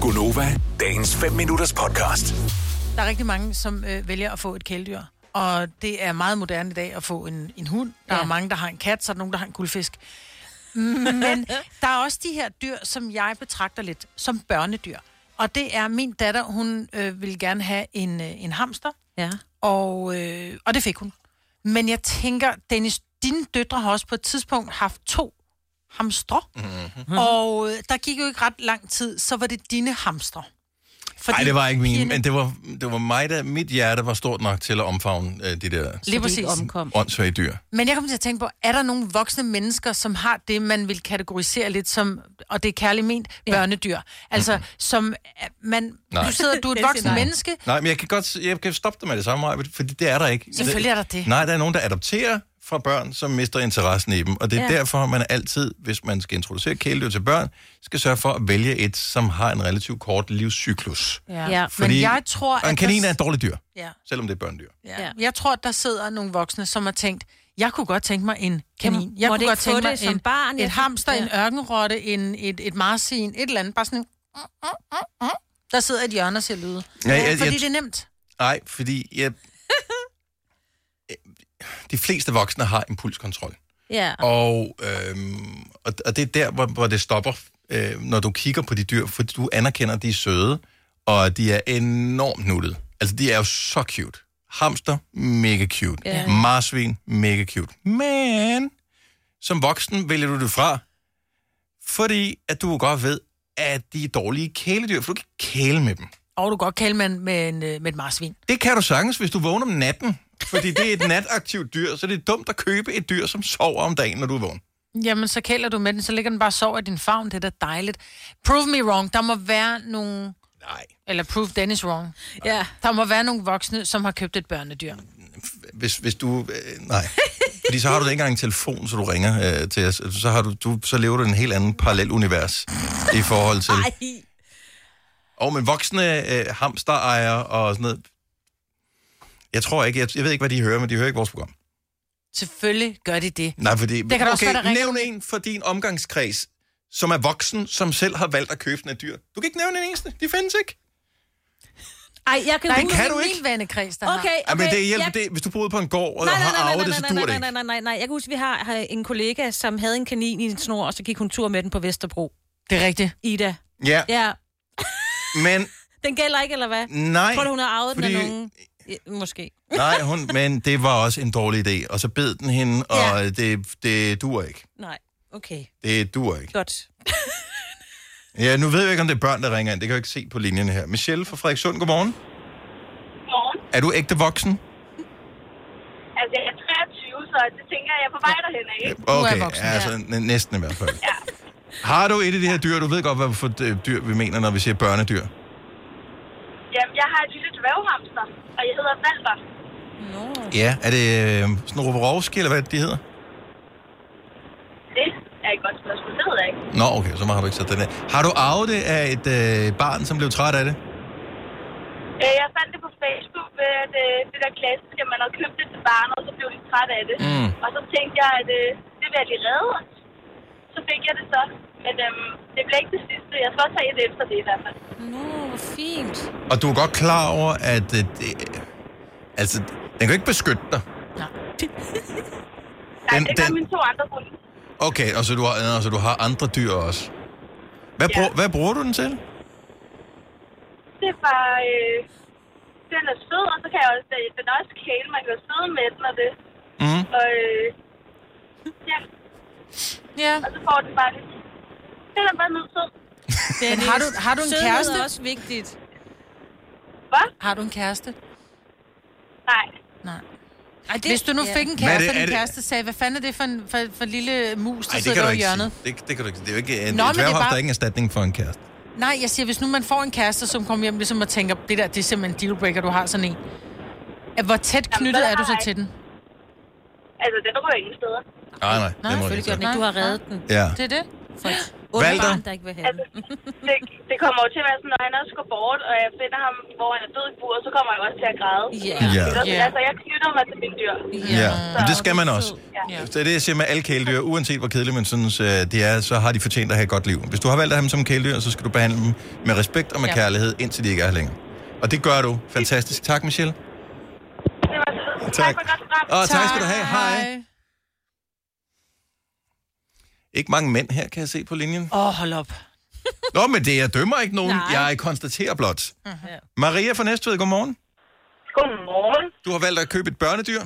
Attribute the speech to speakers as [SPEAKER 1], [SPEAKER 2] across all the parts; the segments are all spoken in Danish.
[SPEAKER 1] Gunova, dagens 5 minutters podcast.
[SPEAKER 2] Der er rigtig mange, som øh, vælger at få et kæledyr. Og det er meget moderne i dag at få en, en hund. Der ja. er mange, der har en kat, så er der nogen, der har en guldfisk. Men der er også de her dyr, som jeg betragter lidt som børnedyr. Og det er min datter, hun øh, ville gerne have en, øh, en hamster,
[SPEAKER 3] Ja.
[SPEAKER 2] og, øh, og det fik hun. Men jeg tænker, Dennis, dine døtre har også på et tidspunkt haft to hamstre.
[SPEAKER 4] Mhm.
[SPEAKER 2] Mm-hmm. Og øh, der gik jo ikke ret lang tid, så var det dine hamstre. Fordi
[SPEAKER 4] Nej, det var ikke min,
[SPEAKER 2] pigerne-
[SPEAKER 4] men det var, det var mig, der, mit hjerte var stort nok til at omfavne øh, de der
[SPEAKER 2] Lige
[SPEAKER 3] Så de ikke
[SPEAKER 2] præcis.
[SPEAKER 3] omkom.
[SPEAKER 4] åndssvage dyr.
[SPEAKER 2] Men jeg kom til at tænke på, er der nogle voksne mennesker, som har det, man vil kategorisere lidt som, og det er kærligt ment, børnedyr? Altså, som øh, man...
[SPEAKER 4] Nej.
[SPEAKER 2] Du sidder, du er et
[SPEAKER 3] Det
[SPEAKER 2] voksen
[SPEAKER 3] siger Mhm. nej.
[SPEAKER 2] menneske.
[SPEAKER 4] Nej, men jeg kan godt s- jeg kan stoppe dig med det samme, Maja, fordi det er der ikke.
[SPEAKER 2] Selvfølgelig er der det.
[SPEAKER 4] Nej, der er nogen, der adopterer fra børn, som mister interessen i dem. Og det er ja. derfor, man altid, hvis man skal introducere kæledyr til børn, skal sørge for at vælge et, som har en relativt kort livscyklus.
[SPEAKER 2] Ja.
[SPEAKER 3] Ja.
[SPEAKER 2] Men jeg tror,
[SPEAKER 4] og en kanin
[SPEAKER 2] der,
[SPEAKER 4] er et dårligt dyr,
[SPEAKER 2] ja,
[SPEAKER 4] selvom det er børnedyr.
[SPEAKER 2] ja.
[SPEAKER 3] Ja.
[SPEAKER 2] Jeg tror, at der sidder nogle voksne, som har tænkt, jeg kunne godt tænke mig en kanin. Jeg
[SPEAKER 3] måtte
[SPEAKER 2] kunne
[SPEAKER 3] ikke
[SPEAKER 2] godt
[SPEAKER 3] få
[SPEAKER 2] tænke
[SPEAKER 3] det
[SPEAKER 2] mig
[SPEAKER 3] som
[SPEAKER 2] en,
[SPEAKER 3] barn.
[SPEAKER 2] et
[SPEAKER 3] Jeg-
[SPEAKER 2] hamster,
[SPEAKER 3] Ja.
[SPEAKER 2] en ørkenrotte, en, et, et marsin, et eller andet. Bare sådan en... Der sidder et hjørne og siger lyde.
[SPEAKER 4] Ja, jeg- jeg-
[SPEAKER 2] fordi det er nemt.
[SPEAKER 4] Nej, fordi jeg... de fleste voksne har impulskontrol.
[SPEAKER 3] Ja.
[SPEAKER 4] Og, øhm, og, og det er der, hvor, hvor det stopper, øh, når du kigger på de dyr, for du anerkender, at de er søde, og de er enormt nuttede. Altså, de er jo så cute. Hamster, mega cute.
[SPEAKER 3] Ja.
[SPEAKER 4] Marsvin, mega cute. Men som voksen vælger du det fra, fordi at du godt ved, at de er dårlige kæledyr, for du kan ikke kæle med dem.
[SPEAKER 2] Og du kan godt kalde med, en- med, en, øh, med et marsvin.
[SPEAKER 4] Det kan du sagtens, hvis du vågner om natten. Fordi det er et nataktivt dyr, så det er dumt at købe et dyr, som sover om dagen, når du er vågen.
[SPEAKER 2] Jamen, så kæler du med den, så ligger den bare og sover i din favn. Det er da dejligt. Prove me wrong. Der må være nogle...
[SPEAKER 4] Nej.
[SPEAKER 2] Eller prove Dennis wrong.
[SPEAKER 3] ja.
[SPEAKER 2] Der må være nogle voksne, som har købt et børnedyr.
[SPEAKER 4] Hvis, hvis du... Øh, nej. Fordi så har du da ikke engang en telefon, så du ringer øh, til os. Så, har du, du, så lever du i en helt anden parallel univers i forhold til...
[SPEAKER 3] Ej.
[SPEAKER 4] Og men voksne øh, hamsterejere og sådan noget... Jeg tror ikke, jeg, jeg ved ikke, hvad de hører, men de hører ikke vores program.
[SPEAKER 2] Selvfølgelig gør de det.
[SPEAKER 4] Nej, fordi...
[SPEAKER 2] kan da også
[SPEAKER 4] okay,
[SPEAKER 2] være, der ringer-
[SPEAKER 4] nævn en for din omgangskreds, som er voksen, som selv har valgt at købe den af dyr. Du kan ikke nævne en eneste. De findes ikke.
[SPEAKER 3] Ej, jeg kan,
[SPEAKER 2] Der er
[SPEAKER 3] huske-
[SPEAKER 2] ikke
[SPEAKER 4] kan du
[SPEAKER 2] nogen i
[SPEAKER 4] ikke?
[SPEAKER 2] min vennekreds, der
[SPEAKER 3] Okay,
[SPEAKER 2] har.
[SPEAKER 3] okay.
[SPEAKER 4] Ja, men det hjælper,
[SPEAKER 3] jeg-
[SPEAKER 4] det, hvis du boede på en gård og
[SPEAKER 3] Nej, nej,
[SPEAKER 4] har
[SPEAKER 3] nej, nej,
[SPEAKER 4] arvet det, så
[SPEAKER 3] nej,
[SPEAKER 4] dur det
[SPEAKER 3] nej,
[SPEAKER 4] ikke.
[SPEAKER 3] nej, nej, nej, nej. Jeg kan huske, vi har har en kollega, som havde en kanin i en snor, og så gik hun tur med den på Vesterbro.
[SPEAKER 2] Det er rigtigt.
[SPEAKER 3] Ida.
[SPEAKER 4] Ja,
[SPEAKER 3] Ja.
[SPEAKER 4] men
[SPEAKER 3] Den gælder ikke, eller hvad?
[SPEAKER 4] nej.
[SPEAKER 3] Tror du, hun har arvet den af
[SPEAKER 4] fordi-
[SPEAKER 3] nogen? Ja, Måske.
[SPEAKER 4] Nej, hun, men det var også en dårlig idé. Og så bed den hende, og
[SPEAKER 3] Ja.
[SPEAKER 4] det, det dur ikke.
[SPEAKER 3] Nej. Okay.
[SPEAKER 4] Det dur ikke.
[SPEAKER 3] Godt.
[SPEAKER 4] Ja, nu ved jeg ikke, om det er børn, der ringer ind. Det kan jeg jo ikke se på linjen her. Michelle fra Frederikssund, godmorgen.
[SPEAKER 5] morgen.
[SPEAKER 4] Er du ægte voksen?
[SPEAKER 5] Altså, jeg er 23, så det tænker jeg er på vej derhen af, ikke?
[SPEAKER 4] Okay,
[SPEAKER 2] voksen, ja.
[SPEAKER 4] altså n- næsten i hvert fald. Har du et af de her dyr? Du ved godt, hvad for øh, dyr vi mener, når vi siger børnedyr.
[SPEAKER 5] Jamen, jeg har et lille dværghamster, og jeg hedder Valter.
[SPEAKER 3] Nå.
[SPEAKER 4] Ja. Er det øh, sådan nogle Rovrovski, eller hvad de hedder?
[SPEAKER 5] Det er et godt spørgsmål, det ved jeg ikke.
[SPEAKER 4] Nå, okay, så har du ikke sat den af. Har du arvet det af et øh, barn, som blev træt af det?
[SPEAKER 5] Øh, Jeg fandt det på Facebook ved at, øh, det der klassiske, at man havde købt det til barnet, og så blev de træt af det.
[SPEAKER 4] Mm.
[SPEAKER 5] Og så tænkte jeg, at øh, det vil jeg lige redde. Så fik jeg det så. Men øhm, det blev ikke det sidste. Jeg skal også have et efter det i hvert fald.
[SPEAKER 3] Nå, hvor fint.
[SPEAKER 4] Og du er godt klar over, at... Øh, det, altså, den kan jo ikke beskytte dig.
[SPEAKER 5] Nej,
[SPEAKER 4] Den-
[SPEAKER 5] det gør
[SPEAKER 4] den-
[SPEAKER 5] mine to andre hunde.
[SPEAKER 4] Okay, og så du har, og så du har andre dyr også. Hvad,
[SPEAKER 5] Ja.
[SPEAKER 4] ja. brug, hvad bruger du den til?
[SPEAKER 5] Det er bare... Øh, den er sød, og så kan jeg også, øh, den er også kæle. Man kan jo sidde med den og det.
[SPEAKER 4] Mm.
[SPEAKER 5] Og øh, ja,
[SPEAKER 2] Ja.
[SPEAKER 5] Og så får den bare lidt... Den er bare nødt til.
[SPEAKER 3] Men
[SPEAKER 2] har du- har du en kæreste?
[SPEAKER 3] er også vigtigt.
[SPEAKER 5] Hvad?
[SPEAKER 2] Har du en kæreste?
[SPEAKER 5] Nej.
[SPEAKER 2] Nej.
[SPEAKER 3] Ej, det,
[SPEAKER 2] Hvis du nu
[SPEAKER 3] ja.
[SPEAKER 2] fik en
[SPEAKER 4] Hvad er
[SPEAKER 2] kæreste,
[SPEAKER 4] det-
[SPEAKER 2] og
[SPEAKER 4] er
[SPEAKER 2] din
[SPEAKER 4] det-
[SPEAKER 2] kæreste sagde, hvad fanden er det for en, for, for en lille mus, der
[SPEAKER 4] Ej, det
[SPEAKER 2] sidder
[SPEAKER 4] kan du
[SPEAKER 2] der i
[SPEAKER 4] ikke
[SPEAKER 2] hjørnet?
[SPEAKER 4] sige. Det, det kan du ikke. Det er jo ikke øh, en
[SPEAKER 2] Nå, men
[SPEAKER 4] Nå,
[SPEAKER 2] det er
[SPEAKER 4] dværghof, bare... der
[SPEAKER 2] bare-
[SPEAKER 4] er ingen erstatning for en kæreste.
[SPEAKER 2] Nej, jeg siger, hvis nu man får en kæreste, som kommer hjem ligesom og tænker, det der, det er simpelthen en dealbreaker, du har sådan en. At Hvor tæt knyttet
[SPEAKER 5] den
[SPEAKER 2] er du
[SPEAKER 5] har
[SPEAKER 2] så
[SPEAKER 5] jeg
[SPEAKER 2] til den?
[SPEAKER 5] Altså, den rører ingen steder.
[SPEAKER 4] Nej, nej.
[SPEAKER 2] Nej,
[SPEAKER 4] det må du
[SPEAKER 2] selvfølgelig
[SPEAKER 4] ikke
[SPEAKER 3] Men
[SPEAKER 4] sige.
[SPEAKER 3] du har reddet den.
[SPEAKER 4] Ja.
[SPEAKER 2] Det er det.
[SPEAKER 3] For et ondt
[SPEAKER 4] Walter?
[SPEAKER 3] barn, der ikke vil have den.
[SPEAKER 5] Altså, Det, det kommer jo til at være sådan, når han også går bort, og jeg finder ham, hvor han er død i buret, så kommer jeg jo også til at græde.
[SPEAKER 3] Ja.
[SPEAKER 4] Ja.
[SPEAKER 5] Ikke også?
[SPEAKER 2] Ja.
[SPEAKER 5] Altså, jeg knytter mig til mine dyr.
[SPEAKER 4] Ja, men det skal man
[SPEAKER 3] det er
[SPEAKER 4] også.
[SPEAKER 3] sød.
[SPEAKER 2] Ja.
[SPEAKER 4] Det er det, jeg siger med alle kæledyr. Uanset hvor kedelige man synes, øh, de er, så har de fortjent at have et godt liv. Hvis du har valgt at have dem som kæledyr, så skal du behandle dem med respekt og med
[SPEAKER 3] Ja.
[SPEAKER 4] kærlighed, indtil de ikke er her længere. Og det gør du. Fantastisk. Tak, Michelle.
[SPEAKER 5] Det var så.
[SPEAKER 4] Tak.
[SPEAKER 5] tak for et godt program.
[SPEAKER 4] Og tak skal du have. Hej. Ikke mange mænd her, kan jeg se på linjen.
[SPEAKER 2] Åh, oh, hold op.
[SPEAKER 4] Nå, men det, jeg dømmer ikke nogen.
[SPEAKER 3] Nej.
[SPEAKER 4] Jeg konstaterer blot. Maria fra Næstved, godmorgen.
[SPEAKER 6] Godmorgen.
[SPEAKER 4] Du har valgt at købe et børnedyr.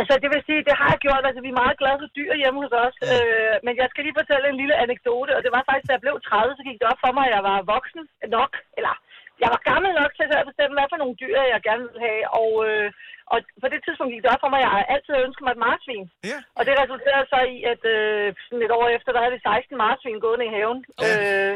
[SPEAKER 6] Altså, det vil sige, det har jeg gjort. Altså, vi er meget glade for dyr hjemme hos os. Øh, men jeg skal lige fortælle en lille anekdote. Og det var faktisk, da jeg blev 30, så gik det op for mig, at jeg var voksen nok. Eller, jeg var gammel nok til at selv at bestemme, hvad for nogle dyr, jeg gerne ville have. Og, øh, og på det tidspunkt gik det op for mig, at jeg altid havde ønsket mig et marsvin.
[SPEAKER 4] Ja.
[SPEAKER 6] Og det resulterede så i, at øh, sådan et år efter, der havde vi 16 marsvin gående i haven. Øh,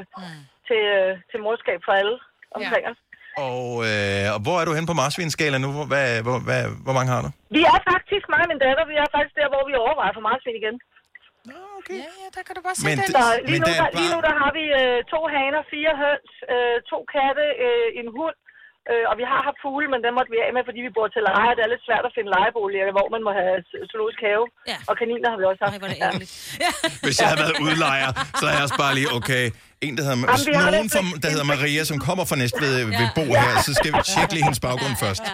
[SPEAKER 6] til, øh, til morskab for alle omkring os.
[SPEAKER 4] Og, øh, og hvor er du henne på marsvinskala nu? Hvor, hvad, hvor, hvad, hvor mange har du?
[SPEAKER 6] Vi er faktisk, mig og min datter, vi er faktisk der, hvor vi overvejer for marsvin igen.
[SPEAKER 4] Nå, okay.
[SPEAKER 2] Ja, ja, der kan du bare se
[SPEAKER 4] Men
[SPEAKER 2] den.
[SPEAKER 4] det-
[SPEAKER 6] Så lige,
[SPEAKER 4] Men
[SPEAKER 6] nu,
[SPEAKER 4] der er
[SPEAKER 6] der,
[SPEAKER 4] bare-
[SPEAKER 6] lige nu der har vi øh, to haner, fire høns, øh, to katte, øh, en hund, øh, og vi har haft fugle, men dem måtte vi af med, fordi vi bor til leje. Det er lidt svært at finde lejeboliger, hvor man må have z- zoologisk have.
[SPEAKER 3] Ja.
[SPEAKER 6] Og kaniner har vi også haft.
[SPEAKER 3] Ej, hvor er det
[SPEAKER 6] Ja.
[SPEAKER 3] ærgerligt. Ja.
[SPEAKER 4] Hvis jeg havde været udlejer, så havde jeg også bare lige, okay, en, der hedder,
[SPEAKER 6] Jamen, vi har
[SPEAKER 4] nogen,
[SPEAKER 6] lidt-
[SPEAKER 4] fra, der hedder Maria, som kommer fra Næstved, øh, vil bo her, så skal vi tjekke lige hendes baggrund først.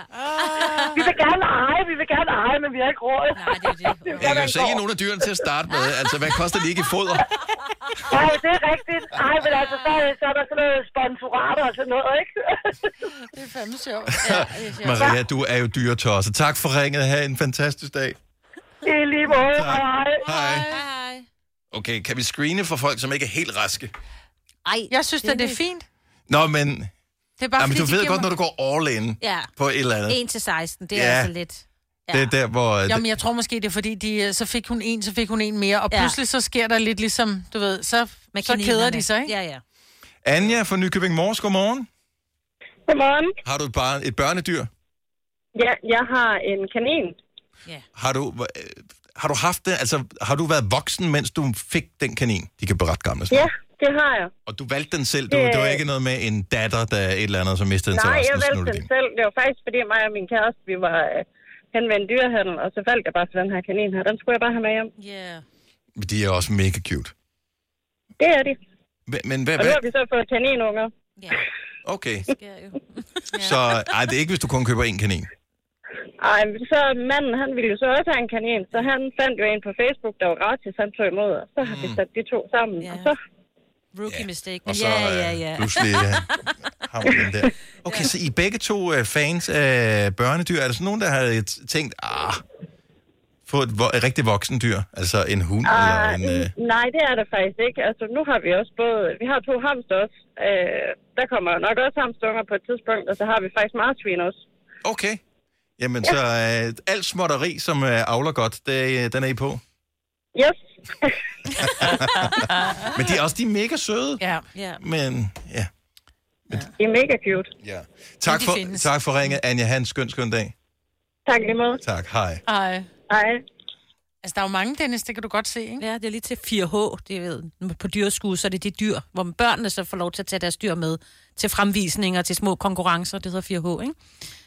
[SPEAKER 6] Vi vil gerne eje, vi vil gerne eje, men vi har ikke råd.
[SPEAKER 3] Nej, det er det.
[SPEAKER 4] Jeg kan jo så ikke nogen af dyrene til at starte med. Altså, hvad koster de ikke i foder?
[SPEAKER 6] Nej, det er rigtigt. Nej, men altså, så, så er der sådan noget sponsorater og sådan noget, ikke?
[SPEAKER 2] Det er fandme sjovt. Ja, det er sjovt.
[SPEAKER 4] Maria, du er jo dyretosset. Tak for ringet. Ha' en fantastisk dag.
[SPEAKER 6] I lige måde.
[SPEAKER 4] Tak.
[SPEAKER 6] Hej.
[SPEAKER 4] Hej.
[SPEAKER 3] Hej.
[SPEAKER 4] Okay, kan vi screene for folk, som ikke er helt raske?
[SPEAKER 3] Ej,
[SPEAKER 2] Jeg synes, at det er fint.
[SPEAKER 4] Nå, men,
[SPEAKER 2] Det er bare,
[SPEAKER 4] jamen,
[SPEAKER 2] fordi,
[SPEAKER 4] du
[SPEAKER 2] de
[SPEAKER 4] ved
[SPEAKER 2] giver
[SPEAKER 4] godt, når
[SPEAKER 2] mig-
[SPEAKER 4] du går all in
[SPEAKER 3] Ja.
[SPEAKER 4] på et eller andet.
[SPEAKER 3] 1 til 16, det er
[SPEAKER 4] Ja.
[SPEAKER 3] altså lidt.
[SPEAKER 4] Det er der, hvor... øh,
[SPEAKER 2] Jamen, jeg tror måske, det er fordi, de, øh, så fik hun en, så fik hun en mere, og
[SPEAKER 3] Ja.
[SPEAKER 2] pludselig så sker der lidt ligesom, du ved, så,
[SPEAKER 3] Med
[SPEAKER 2] så keder de sig, ikke?
[SPEAKER 3] Ja, ja.
[SPEAKER 4] Anja fra Nykøbing Mors, godmorgen.
[SPEAKER 5] Godmorgen.
[SPEAKER 4] Har du bare et børnedyr?
[SPEAKER 5] Ja, jeg har en kanin.
[SPEAKER 4] Har du, øh, har du haft det? Altså, har du været voksen, mens du fik den kanin? De kan blive ret gamle. Ja.
[SPEAKER 5] det har jeg.
[SPEAKER 4] Og du valgte den selv? Du, det var ikke noget med en datter, der er et eller andet, som mistede
[SPEAKER 5] Nej,
[SPEAKER 4] interessen?
[SPEAKER 5] jeg
[SPEAKER 4] og
[SPEAKER 5] valgte
[SPEAKER 4] snuttede
[SPEAKER 5] den
[SPEAKER 4] den.
[SPEAKER 5] selv. Det var faktisk, fordi mig og min kæreste, vi var øh, hen ved en dyrehandel, og så faldt jeg bare for den her kanin her. Den skulle jeg bare have med hjem.
[SPEAKER 3] Yeah.
[SPEAKER 4] De er også mega cute.
[SPEAKER 5] Det er det.
[SPEAKER 4] Men, men hvad,
[SPEAKER 5] Og nu
[SPEAKER 4] hvad?
[SPEAKER 5] har vi så fået kaninunger.
[SPEAKER 3] Ja,
[SPEAKER 4] Okay,
[SPEAKER 3] det er jo.
[SPEAKER 4] så ej, det er ikke, hvis du kun køber en kanin.
[SPEAKER 5] Ej, men så manden, han ville jo så også have en kanin, så han fandt jo en på Facebook, der var gratis, han tog imod, og så har
[SPEAKER 4] Mm.
[SPEAKER 5] vi sat de to sammen,
[SPEAKER 3] Ja.
[SPEAKER 5] og så
[SPEAKER 3] Rookie mistake. Men
[SPEAKER 4] Og så
[SPEAKER 3] ja, ja, ja.
[SPEAKER 4] øh, pludselig øh, har man den der. Okay, så I er begge to øh, fans af børnedyr. Er der sådan nogen, der havde t- tænkt, ah, få et, vo- et rigtig voksen dyr? Altså en hund eller
[SPEAKER 5] Ah,
[SPEAKER 4] en... Øh,
[SPEAKER 5] Nej, det er der faktisk ikke. Altså, nu har vi også både... Vi har to hamster også. Øh, der kommer nok også hamstunger på et tidspunkt, og så har vi faktisk marsvin også.
[SPEAKER 4] Okay. Jamen, så øh, alt småtteri, som øh, avler godt, det, øh, den er I på.
[SPEAKER 5] Yes.
[SPEAKER 4] Men de er også de er mega søde.
[SPEAKER 2] Ja.
[SPEAKER 3] Ah. ja.
[SPEAKER 4] Men ja.
[SPEAKER 5] I er mega cute.
[SPEAKER 4] ja. Tak,
[SPEAKER 2] de
[SPEAKER 4] for,
[SPEAKER 2] findes.
[SPEAKER 4] tak for ringet, Anja. Ha' en skøn, skøn dag.
[SPEAKER 5] Tak lige måde.
[SPEAKER 4] Tak. Hej.
[SPEAKER 2] Ej.
[SPEAKER 5] Hej.
[SPEAKER 2] Altså, der er jo mange, Dennis, det kan du godt se, ikke?
[SPEAKER 3] Ja, det er lige til 4H, det ved på dyreskue, så er det de dyr, hvor børnene så får lov til at tage deres dyr med til fremvisninger, til små konkurrencer, det hedder 4H, ikke?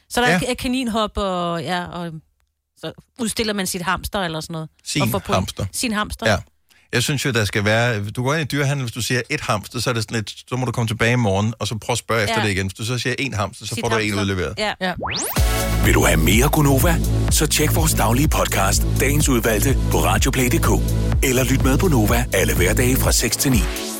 [SPEAKER 3] Så der
[SPEAKER 4] Ja.
[SPEAKER 3] ja. er kaninhop, og, ja, og så udstiller man sit hamster eller sådan noget.
[SPEAKER 4] Sin
[SPEAKER 3] og får point.
[SPEAKER 4] hamster.
[SPEAKER 3] Sin hamster.
[SPEAKER 4] Ja. Jeg synes jo, der skal være... Du går ind i dyrehandel, hvis du siger et hamster, så er det sådan lidt... Så må du komme tilbage i morgen, og så prøve at spørge efter
[SPEAKER 3] Ja.
[SPEAKER 4] det igen. Hvis du så siger en hamster, så
[SPEAKER 3] Sit
[SPEAKER 4] får du en
[SPEAKER 3] hamster.
[SPEAKER 4] udleveret.
[SPEAKER 3] Ja.
[SPEAKER 2] Ja.
[SPEAKER 1] Vil du have mere Gunova? Så tjek vores daglige podcast, dagens udvalgte, på radioplay.dk. Eller lyt med på Nova alle hverdage fra 6 til 9.